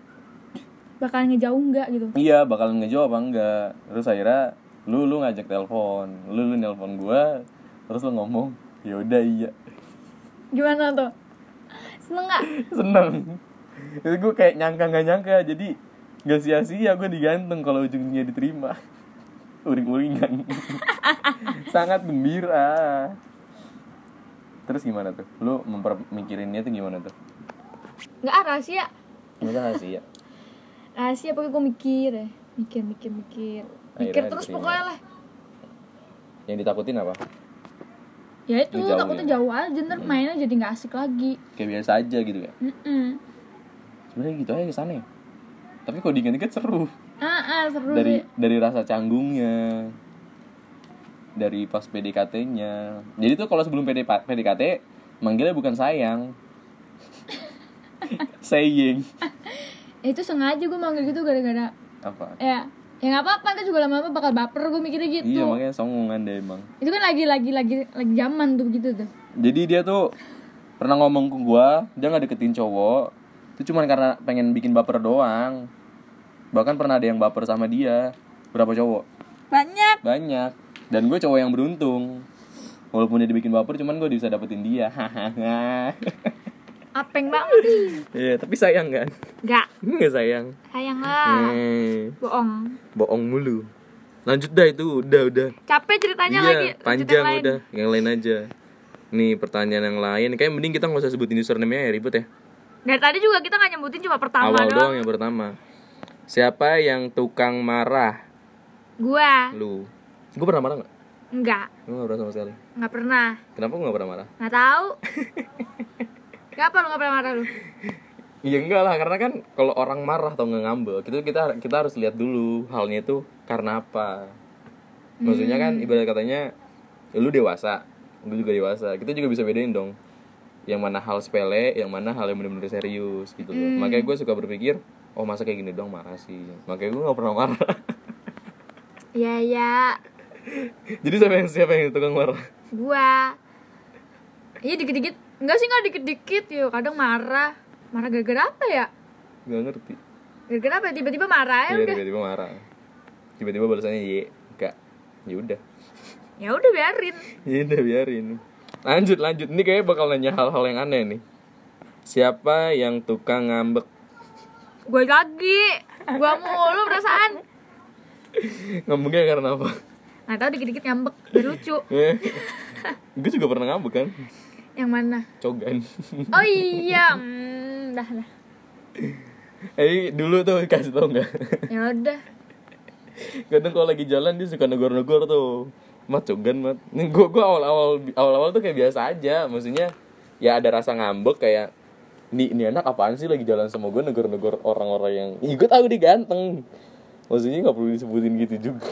B: bakal ngejauh enggak gitu
A: iya bakalan ngejawab apa enggak terus akhirnya lu lu ngajak telepon lu lu nelpon gua terus lu ngomong ya udah iya
B: gimana tuh seneng nggak
A: seneng itu gue kayak nyangka nggak nyangka jadi nggak sia-sia gue digantung kalau ujungnya diterima uring-uringan sangat gembira terus gimana tuh lu memper- mikirinnya tuh gimana tuh
B: nggak ah, rahasia
A: masa rahasia
B: rahasia pokoknya gue mikir ya mikir mikir mikir mikir
A: Akhirnya
B: terus
A: diterima.
B: pokoknya lah
A: yang ditakutin apa
B: ya itu
A: Lu jauh
B: takutnya
A: ya?
B: jauh aja ntar mainnya jadi nggak asik lagi
A: kayak biasa aja gitu ya
B: Mm-mm.
A: sebenarnya gitu aja kesannya tapi kalau diingat-ingat seru
B: ah, ah seru
A: dari
B: sih
A: dari rasa canggungnya dari pas PDKT-nya jadi tuh kalau sebelum PD pa- PDKT manggilnya bukan sayang saying
B: Ya, itu sengaja gue manggil gitu gara-gara
A: apa
B: ya ya nggak apa-apa kan juga lama-lama bakal baper gue mikirnya
A: iya
B: gitu Hmm.
A: makanya songongan deh emang
B: itu kan lagi lagi lagi lagi zaman tuh gitu tuh
A: jadi dia tuh pernah ngomong ke gue dia nggak deketin cowok itu cuman karena pengen bikin baper doang bahkan pernah ada yang baper sama dia berapa cowok
B: banyak
A: banyak dan gue cowok yang beruntung walaupun dia dibikin baper cuman gue bisa dapetin dia hahaha
B: apeng banget ih.
A: iya tapi sayang kan
B: nggak
A: nggak sayang
B: sayang lah
A: hmm,
B: bohong
A: bohong mulu lanjut dah itu udah udah
B: capek ceritanya
A: iya,
B: lagi lanjut
A: panjang
B: yang lain.
A: udah yang lain aja nih pertanyaan yang lain kayak mending kita nggak usah sebutin username-nya ya ribet ya
B: dari tadi juga kita nggak nyebutin cuma pertama
A: awal
B: doang
A: doang yang pertama siapa yang tukang marah
B: gua
A: lu gue pernah marah nggak
B: nggak
A: gue nggak pernah sama sekali
B: nggak pernah
A: kenapa gue nggak pernah marah
B: nggak tahu Kenapa lu nggak pernah marah lu?
A: Iya enggak lah karena kan kalau orang marah atau nggak ngambek itu kita kita harus lihat dulu halnya itu karena apa. Maksudnya kan ibarat katanya ya lu dewasa, gue juga dewasa. Kita juga bisa bedain dong yang mana hal sepele, yang mana hal yang benar-benar serius gitu loh. Makanya gue suka berpikir, oh masa kayak gini dong marah sih. Makanya gue nggak pernah marah.
B: Ya ya,
A: Jadi siapa yang siapa yang tukang marah?
B: gua. Iya dikit-dikit, enggak sih enggak dikit-dikit yo, kadang marah. Marah gara-gara apa ya?
A: Gak ngerti.
B: Gara-gara apa? Tiba-tiba marah ya
A: Iya,
B: udah.
A: tiba-tiba marah. Tiba-tiba balasannya ye, enggak. Ya udah.
B: Ya udah biarin.
A: Ya udah biarin. Lanjut lanjut. Ini kayaknya bakal nanya hal-hal yang aneh nih. Siapa yang tukang ngambek?
B: Gue lagi, gua mulu perasaan.
A: Ngambeknya karena apa?
B: Nggak tahu dikit-dikit ngambek, biar lucu.
A: Gue juga pernah ngambek kan?
B: Yang mana?
A: Cogan.
B: Oh iya, hmm, dah dah.
A: Eh dulu tuh kasih tau nggak?
B: Ya udah.
A: Kadang kalau lagi jalan dia suka negor-negor tuh. Mat cogan mat. Gue gue awal-awal awal-awal tuh kayak biasa aja. Maksudnya ya ada rasa ngambek kayak nih ini anak apaan sih lagi jalan sama gue negor-negor orang-orang yang Ih, gue tahu dia ganteng. Maksudnya nggak perlu disebutin gitu juga.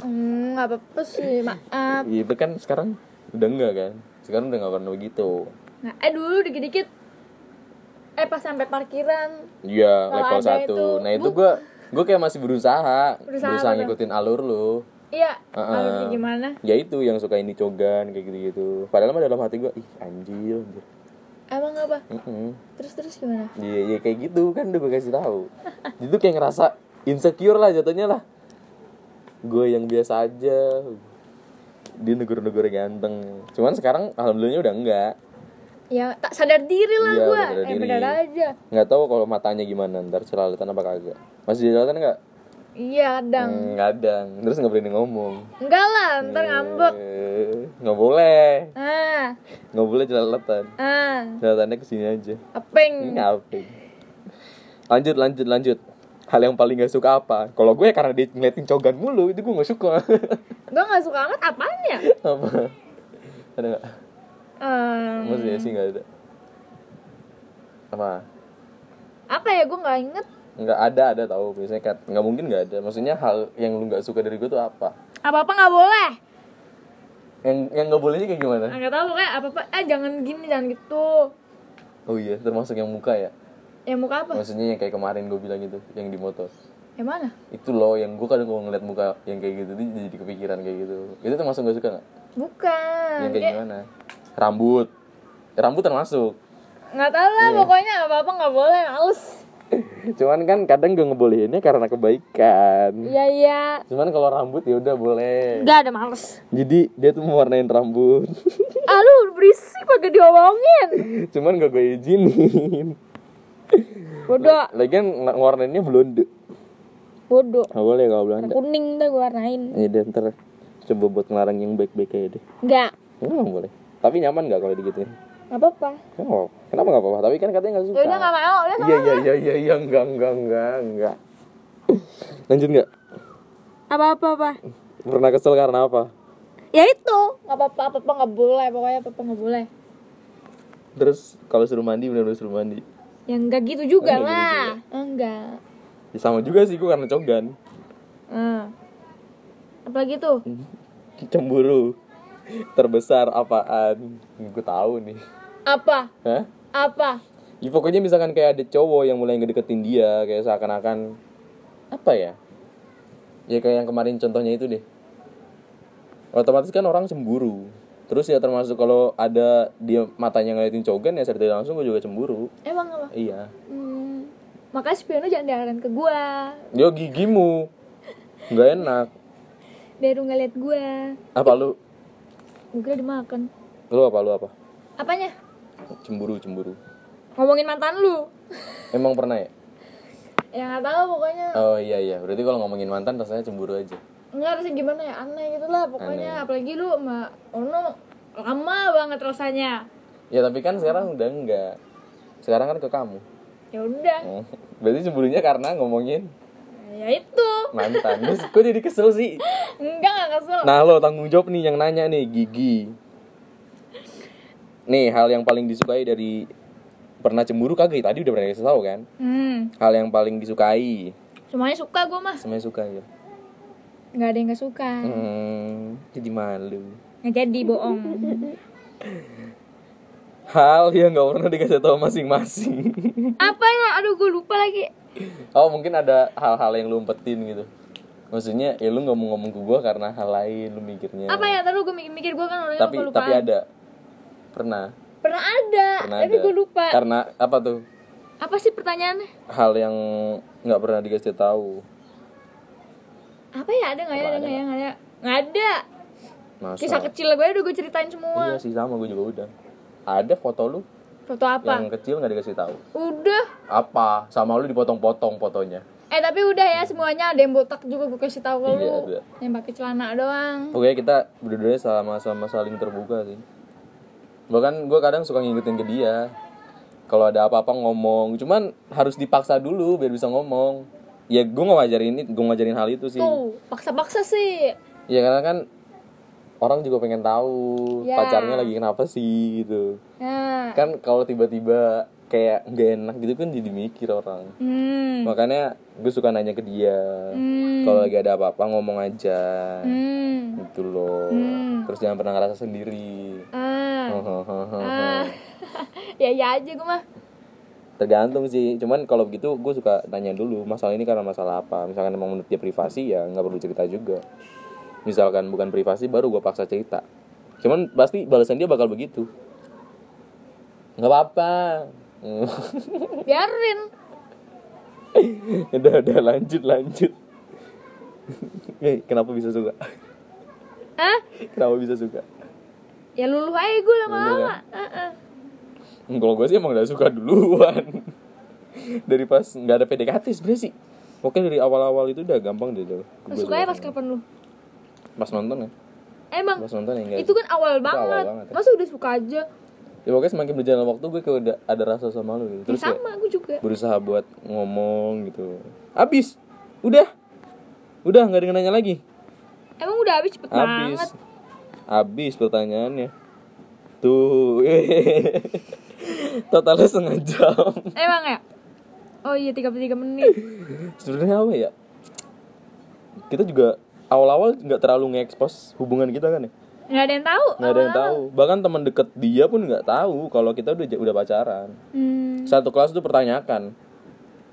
B: Hmm, nggak apa-apa sih, maaf.
A: Iya, itu kan sekarang udah enggak kan sekarang udah nggak pernah begitu
B: Nah, eh dulu dikit-dikit eh pas sampai parkiran
A: iya
B: Kalau
A: level
B: ada
A: satu
B: itu,
A: nah itu
B: bu-
A: gue gue kayak masih berusaha berusaha,
B: Berusaha apa?
A: ngikutin alur lu
B: Iya,
A: Heeh.
B: alurnya gimana?
A: ya itu yang suka ini cogan kayak gitu gitu padahal mah dalam hati gue ih anjir anjir
B: Emang apa?
A: Mm-mm.
B: Terus terus gimana?
A: iya iya kayak gitu kan udah gue kasih tahu itu kayak ngerasa insecure lah jatuhnya lah gue yang biasa aja dia negor-negor ganteng cuman sekarang alhamdulillahnya udah enggak
B: Ya tak sadar diri lah
A: Iya,
B: gua.
A: tak sadar
B: Eh
A: diri.
B: benar aja.
A: nggak tahu kalau matanya gimana ntar celalatan apa kagak masih celalatan nggak
B: Iya, kadang.
A: Hmm, kadang terus nggak berani ngomong
B: Enggak lah, ntar ngambek.
A: Eh, nggak boleh
B: Ah,
A: nggak boleh celalatan
B: ah,
A: celalatannya kesini aja
B: apeng.
A: ngapain lanjut lanjut lanjut hal yang paling gak suka apa kalau gue karena dia ngeliatin cogan mulu itu gue nggak suka
B: Gua nggak suka amat apaan ya?
A: apa ada nggak
B: Em,
A: maksudnya sih nggak ada apa
B: apa ya gua nggak inget
A: nggak ada ada tahu biasanya kan nggak mungkin nggak ada maksudnya hal yang lu nggak suka dari gue tuh apa
B: apa apa nggak boleh
A: yang yang nggak bolehnya kayak gimana
B: Ah, nggak tahu pokoknya apa apa eh jangan gini jangan gitu
A: oh iya termasuk yang muka ya
B: ya muka apa
A: maksudnya yang kayak kemarin gue bilang itu yang di motor
B: yang mana
A: itu loh yang gue kadang kalau ngeliat muka yang kayak gitu tuh jadi kepikiran kayak gitu itu termasuk gak suka nggak
B: bukan
A: yang kayak
B: kayak-
A: gimana rambut Ya, rambut termasuk
B: nggak tahu lah pokoknya apa apa nggak boleh males
A: cuman kan kadang gue ngebolehinnya karena kebaikan
B: iya iya
A: cuman kalau rambut ya udah boleh
B: nggak ada males
A: jadi dia tuh mewarnain rambut
B: ah lu berisik pakai diomongin
A: cuman gak gue izinin
B: bodoh
A: lagian ngewarnainnya blonde
B: bodoh
A: nggak boleh kalau Belanda
B: kuning dah gue warnain
A: ya deh, ntar coba buat ngelarang yang baik-baik aja deh
B: nggak
A: Emang boleh. Tapi nyaman nggak kalau digituin?
B: nggak apa-apa
A: Kenapa? Kenapa nggak apa-apa? Tapi kan katanya nggak suka.
B: ya udah nggak mau udah sama
A: Iya iya iya iya iya enggak enggak enggak enggak. Lanjut nggak?
B: apa apa apa
A: Pernah kesel karena apa?
B: ya itu nggak apa apa apa apa nggak boleh pokoknya apa apa nggak boleh
A: Terus kalau suruh mandi benar-benar suruh mandi.
B: yang nggak gitu
A: Oh,
B: juga
A: nggak gitu
B: lah enggak
A: Ya, sama juga sih gue karena cogan.
B: ah. apalagi tuh
A: Cemburu. Terbesar apaan? Gue tahu nih.
B: apa
A: Hah?
B: apa
A: Ya, pokoknya misalkan kayak ada cowok yang mulai ngedeketin dia kayak seakan-akan apa ya? Ya kayak yang kemarin contohnya itu deh. Otomatis kan orang cemburu. terus ya termasuk kalau ada dia matanya ngeliatin cogan ya secara tidak langsung gue juga cemburu
B: Emang apa?
A: iya
B: Hmm, makanya spion lu jangan diarahin ke gua.
A: yo gigimu nggak enak
B: Biar lu nggak liat gua.
A: apa lu
B: Gua kira dimakan.
A: lu apa lu apa
B: Apanya?
A: cemburu cemburu
B: Ngomongin mantan lu.
A: emang pernah ya
B: Ya nggak tahu pokoknya.
A: oh iya iya berarti kalau ngomongin mantan rasanya cemburu aja
B: Nggak harusnya gimana ya aneh gitu lah pokoknya. Apalagi lu sama Ono lama banget rasanya.
A: ya tapi kan sekarang udah enggak sekarang kan ke kamu
B: Ya udah.
A: Hmm. berarti cemburunya karena ngomongin
B: Ya itu.
A: mantan terus gue jadi kesel sih
B: Enggak nggak kesel.
A: Nah lo tanggung jawab nih yang nanya nih Gigi Nih hal yang paling disukai dari Pernah cemburu kagak Tadi udah pernah kasih tau kan
B: Hmm,
A: Hal yang paling disukai
B: semuanya suka gua mah.
A: Semuanya suka ya
B: Nggak ada yang nggak suka.
A: hmm, Jadi malu
B: Nggak jadi bohong.
A: Hal yang gak pernah dikasih tau masing-masing
B: Apa ya? Aduh gua lupa lagi.
A: Oh mungkin ada hal-hal yang lu umpetin gitu Maksudnya ya lu gak mau ngomong ke gua karena hal lain Lu mikirnya
B: Apa ya? Taruh gua mikir-mikir gua kan orangnya
A: Tapi
B: lupa lupa.
A: tapi ada Pernah
B: Pernah ada,
A: Pernah
B: tapi
A: ada.
B: gua lupa.
A: Karena apa tuh
B: Apa sih pertanyaannya?
A: Hal yang gak pernah dikasih tahu
B: Apa ya? Ada nggak ya? Ada nggak ya? Nggak ada. Nggak ada.
A: Masa?
B: Kisah kecil gue udah gue ceritain semua.
A: Iya sih sama gue juga udah. Ada foto lu
B: Foto apa?
A: yang kecil nggak dikasih tahu.
B: Udah.
A: Apa? Sama lu dipotong-potong fotonya.
B: Eh tapi udah ya semuanya ada yang botak juga gue kasih tahu ke
A: Iya,
B: lu.
A: ada.
B: Yang pakai celana doang.
A: Pokoknya kita berdua sama-sama saling terbuka sih. Bahkan gue kadang suka ngingetin ke dia. Kalau ada apa-apa ngomong, cuman harus dipaksa dulu biar bisa ngomong. Ya gue ngajarin ini, gue ngajarin hal itu sih.
B: Tuh, paksa-paksa sih.
A: Ya karena kan orang juga pengen tahu
B: Ya.
A: pacarnya lagi kenapa sih gitu.
B: Nah.
A: Kan kalau tiba-tiba kayak nggak enak gitu kan jadi mikir orang.
B: Hmm.
A: makanya gue suka nanya ke dia kalau lagi ada apa-apa ngomong aja
B: Hmm.
A: gitu loh terus jangan pernah ngerasa sendiri
B: Ah. Ah. ya ya aja gue mah.
A: tergantung sih cuman kalau begitu gue suka tanya dulu masalah ini karena masalah apa misalkan emang menurut dia privasi ya nggak perlu cerita juga misalkan bukan privasi baru gue paksa cerita cuman pasti balasan dia bakal begitu nggak apa-apa
B: Biarin.
A: udah udah lanjut lanjut Eh, kenapa bisa suka
B: Hah?
A: kenapa bisa suka
B: Ah. Ya luluh aja gue lama-lama.
A: ya?
B: Ah, Heeh.
A: Hmm, Kalau gue sih emang gak suka duluan Dari pas nggak ada PDKT sebenernya sih Pokoknya dari awal-awal itu udah gampang deh tuh.
B: Lu
A: Gua
B: sukanya
A: suka
B: pas
A: sama.
B: kapan lu?
A: Pas nonton ya
B: Emang
A: Pas nonton ya enggak
B: itu kan awal banget.
A: banget ya.
B: Masa udah suka aja?
A: Ya pokoknya semakin berjalan waktu gue kayak udah ada rasa sama lu gitu
B: Ya
A: Terus kayak
B: sama gue juga.
A: berusaha buat ngomong gitu Abis Udah Udah nggak ada yang nanya lagi
B: Emang udah habis cepet
A: Abis
B: banget.
A: Abis pertanyaannya Tuh Totalnya setengah jam
B: Emang ya? Oh iya 33 menit.
A: sebenarnya apa ya kita juga awal-awal nggak terlalu nge-expose hubungan kita kan ya
B: Nggak ada yang tahu.
A: nggak ada yang tahu bahkan teman deket dia pun nggak tahu kalau kita udah udah pacaran
B: Hmm.
A: satu kelas tuh pertanyakan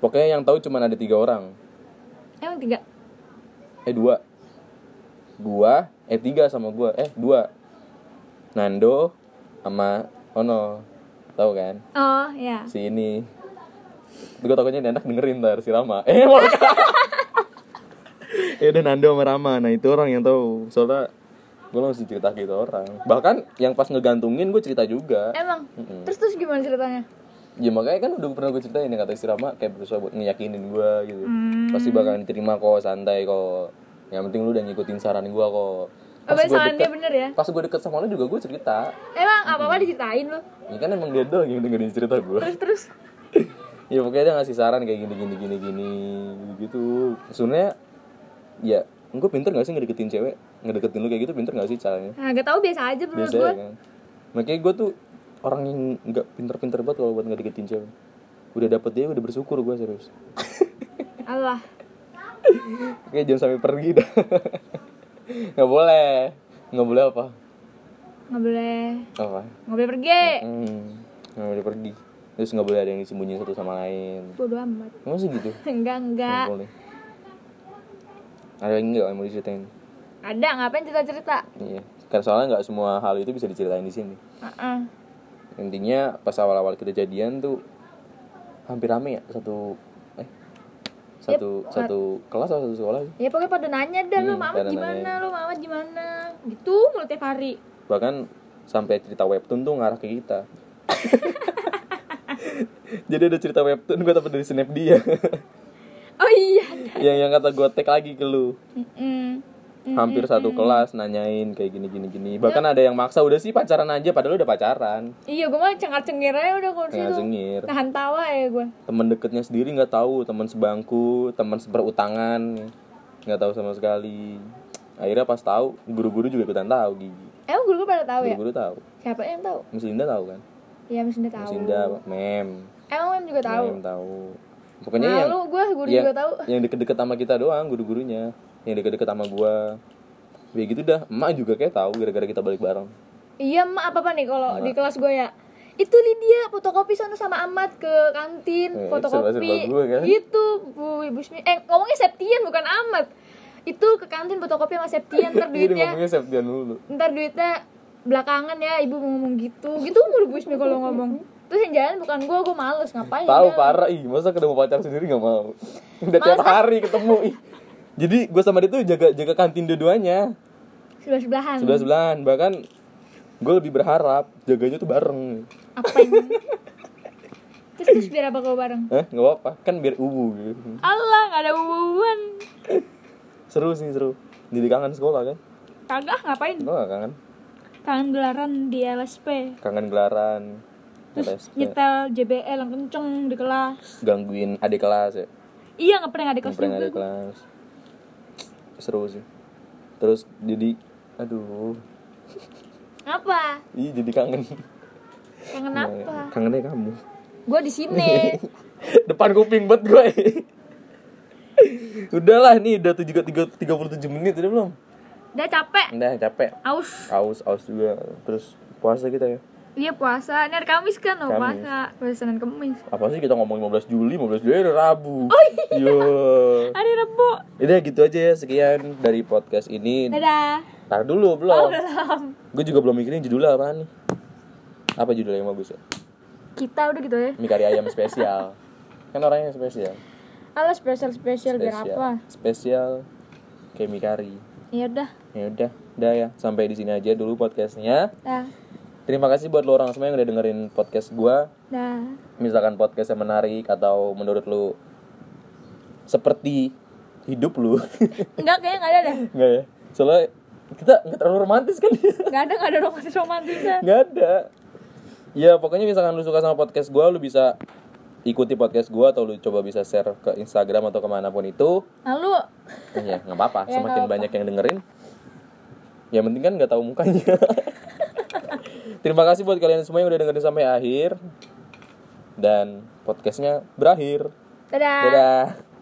A: pokoknya yang tahu cuma ada tiga orang
B: Emang tiga.
A: eh dua gua eh tiga sama gua eh dua Nando sama Ono tahu kan
B: Oh ya.
A: si ini gue takutnya ini anak dengerin ntar si Rama eh mereka ya udah Nando sama Rama nah itu orang yang tahu soalnya gue langsung cerita gitu orang bahkan yang pas ngegantungin gue cerita juga
B: Emang. Terus terus gimana ceritanya?
A: ya makanya kan udah pernah gue ceritain yang kata si Rama kayak berusaha buat ngeyakinin gue gitu pasti bakalan diterima kok santai kok yang penting lu udah ngikutin saran gue kok
B: Apa
A: gue
B: saran dia
A: deket,
B: bener ya?
A: pas gue deket sama lu juga gue cerita
B: Emang apa-apa diceritain lu.
A: ya kan emang dia doang yang dengerin cerita gue
B: Terus terus.
A: ya pokoknya dia ngasih saran kayak gini gini gini gini gitu sebenarnya ya gue pinter gak sih ngedeketin cewek ngedeketin lu kayak gitu pinter gak sih caranya
B: Nah, gak tahu biasa aja menurut
A: biasa
B: gue.
A: ya kan makanya gue tuh orang yang nggak pinter-pinter banget kalau buat ngedeketin cewek udah dapet dia udah bersyukur gue serius
B: Allah.
A: kayak jangan sampai pergi dah nggak boleh nggak boleh apa
B: Nggak boleh.
A: apa
B: Nggak boleh pergi.
A: hmm, nggak boleh pergi terus nggak boleh ada yang disembunyiin satu sama lain
B: Bodoh amat.
A: emang sih gitu
B: Enggak enggak.
A: nggak boleh ada yang nggak yang mau diceritain
B: Ada ngapain cerita cerita?
A: Iya, karena soalnya nggak semua hal itu bisa diceritain di sini
B: Heeh.
A: intinya pas awal-awal kita jadian tuh hampir rame ya satu eh satu satu kelas atau satu sekolah sih.
B: Ya pokoknya pada nanya dah lu
A: Hmm,
B: Mama
A: pada
B: gimana,
A: nanyain.
B: lu Mama gimana. Gitu mulut tiap hari.
A: bahkan sampai cerita webtoon tuh ngarah ke kita jadi ada cerita webtoon gue dapat dari snap dia
B: Oh iya.
A: yang yang kata gue tag lagi ke lu
B: Mm-mm.
A: hampir satu kelas nanyain kayak gini gini gini bahkan ada yang maksa udah sih pacaran aja padahal udah pacaran
B: Iya, gue mah cengar-cengir aja udah kalau di
A: nggak
B: situ.
A: zengir
B: Tahan tawa ya gue.
A: teman deketnya sendiri nggak tahu teman sebangku teman seperutangan nggak tahu sama sekali akhirnya pas tahu guru-guru juga ikutan tahu gigi
B: Emang guru gue pada tahu ya?
A: guru-guru tahu
B: Siapa yang tahu?
A: Miss Linda tahu kan
B: Iya, Miss Indah
A: Miss
B: tahu.
A: Linda mem
B: Emang Mem juga tahu.
A: mem tahu pokoknya iya. yang
B: Malu gue, guru
A: yang,
B: juga tahu.
A: yang deket-deket sama kita doang guru-gurunya yang deket-deket sama gua ya gitu dah emak juga kayak tahu gara-gara kita balik bareng
B: Iya, Mak, apa-apa nih kalau di kelas gue ya? Itu Lydia fotokopi sono sama Ahmad ke kantin
A: Eh, serba-serba
B: fotokopi.
A: gue kan?
B: Gitu, Bu Ibu Smi. Eh, ngomongnya Septian bukan Ahmad. Itu ke kantin fotokopi sama Septian ntar
A: jadi
B: duitnya.
A: Iya
B: Ah,
A: ngomongnya Septian dulu
B: Ntar duitnya belakangan ya, Ibu ngomong gitu. Gitu mulu Bu Ismi kalau ngomong. Terus yang jalan bukan gue, gue males ngapain.
A: Tahu
B: ya?
A: parah ih, masa ketemu pacar sendiri nggak mau. Udah tiap hari ketemu ih. Jadi gue sama dia tuh jaga jaga kantin dua-duanya.
B: Hmm. Sebelah-sebelahan.
A: Sebelah sebelahan bahkan gue lebih berharap jaganya tuh bareng.
B: Apa ini? terus terus biar apa gue bareng?
A: Eh nggak apa-apa kan biar ubu gitu.
B: Allah, gak ada hubungan.
A: Seru sih seru. Jadi kangen sekolah kan?
B: Kagak ngapain?
A: Gue gak kangen.
B: Kangen gelaran di LSP.
A: Kangen gelaran.
B: terus ya-
A: LSP.
B: nyetel JBL yang kenceng di kelas
A: Gangguin adik kelas ya.
B: iya ngeprank adik kelas
A: Ngeprank
B: juga
A: adik kelas. Seru sih. Terus jadi aduh,
B: apa
A: ih jadi kangen. Iya,
B: kangen apa
A: Kangennya kamu.
B: gue di sini
A: depan kuping buat gue udahlah nih udah tujuh tiga tiga puluh tujuh menit udah belum
B: udah capek
A: udah capek
B: aus
A: aus aus juga terus puasa kita ya
B: iya puasa ini hari Kamis kan oh,
A: Kamis.
B: puasa puasa Senin Kamis
A: apa sih kita ngomong 15 Juli 15 Juli udah Rabu oh iya
B: hari Rabu
A: udah gitu aja ya sekian dari podcast ini
B: dadah
A: tar dulu
B: Oh.
A: belum gue juga belum mikirin judul apa nih apa judul yang bagus ya
B: kita udah gitu ya
A: mie kari ayam spesial kan orangnya spesial
B: halo spesial spesial biar apa
A: spesial kayak mie kari
B: ya udah
A: ya udah udah ya sampai di sini aja dulu podcastnya
B: dah
A: terima kasih buat lo orang semua yang udah dengerin podcast gua
B: dah
A: misalkan podcast yang menarik atau menurut lu seperti hidup lu
B: enggak kayaknya nggak ada dah
A: nggak ya soalnya kita nggak terlalu romantis kan
B: nggak ada nggak ada romantis romantisnya
A: nggak ada ya pokoknya misalkan lu suka sama podcast gua lu bisa ikuti podcast gua atau lu coba bisa share ke Instagram atau kemanapun itu
B: lalu
A: Eh, ya nggak apa-apa semakin banyak yang dengerin yang penting kan nggak tahu mukanya terima kasih buat kalian semua yang udah dengerin sampai akhir dan podcastnya berakhir
B: dadah
A: dadah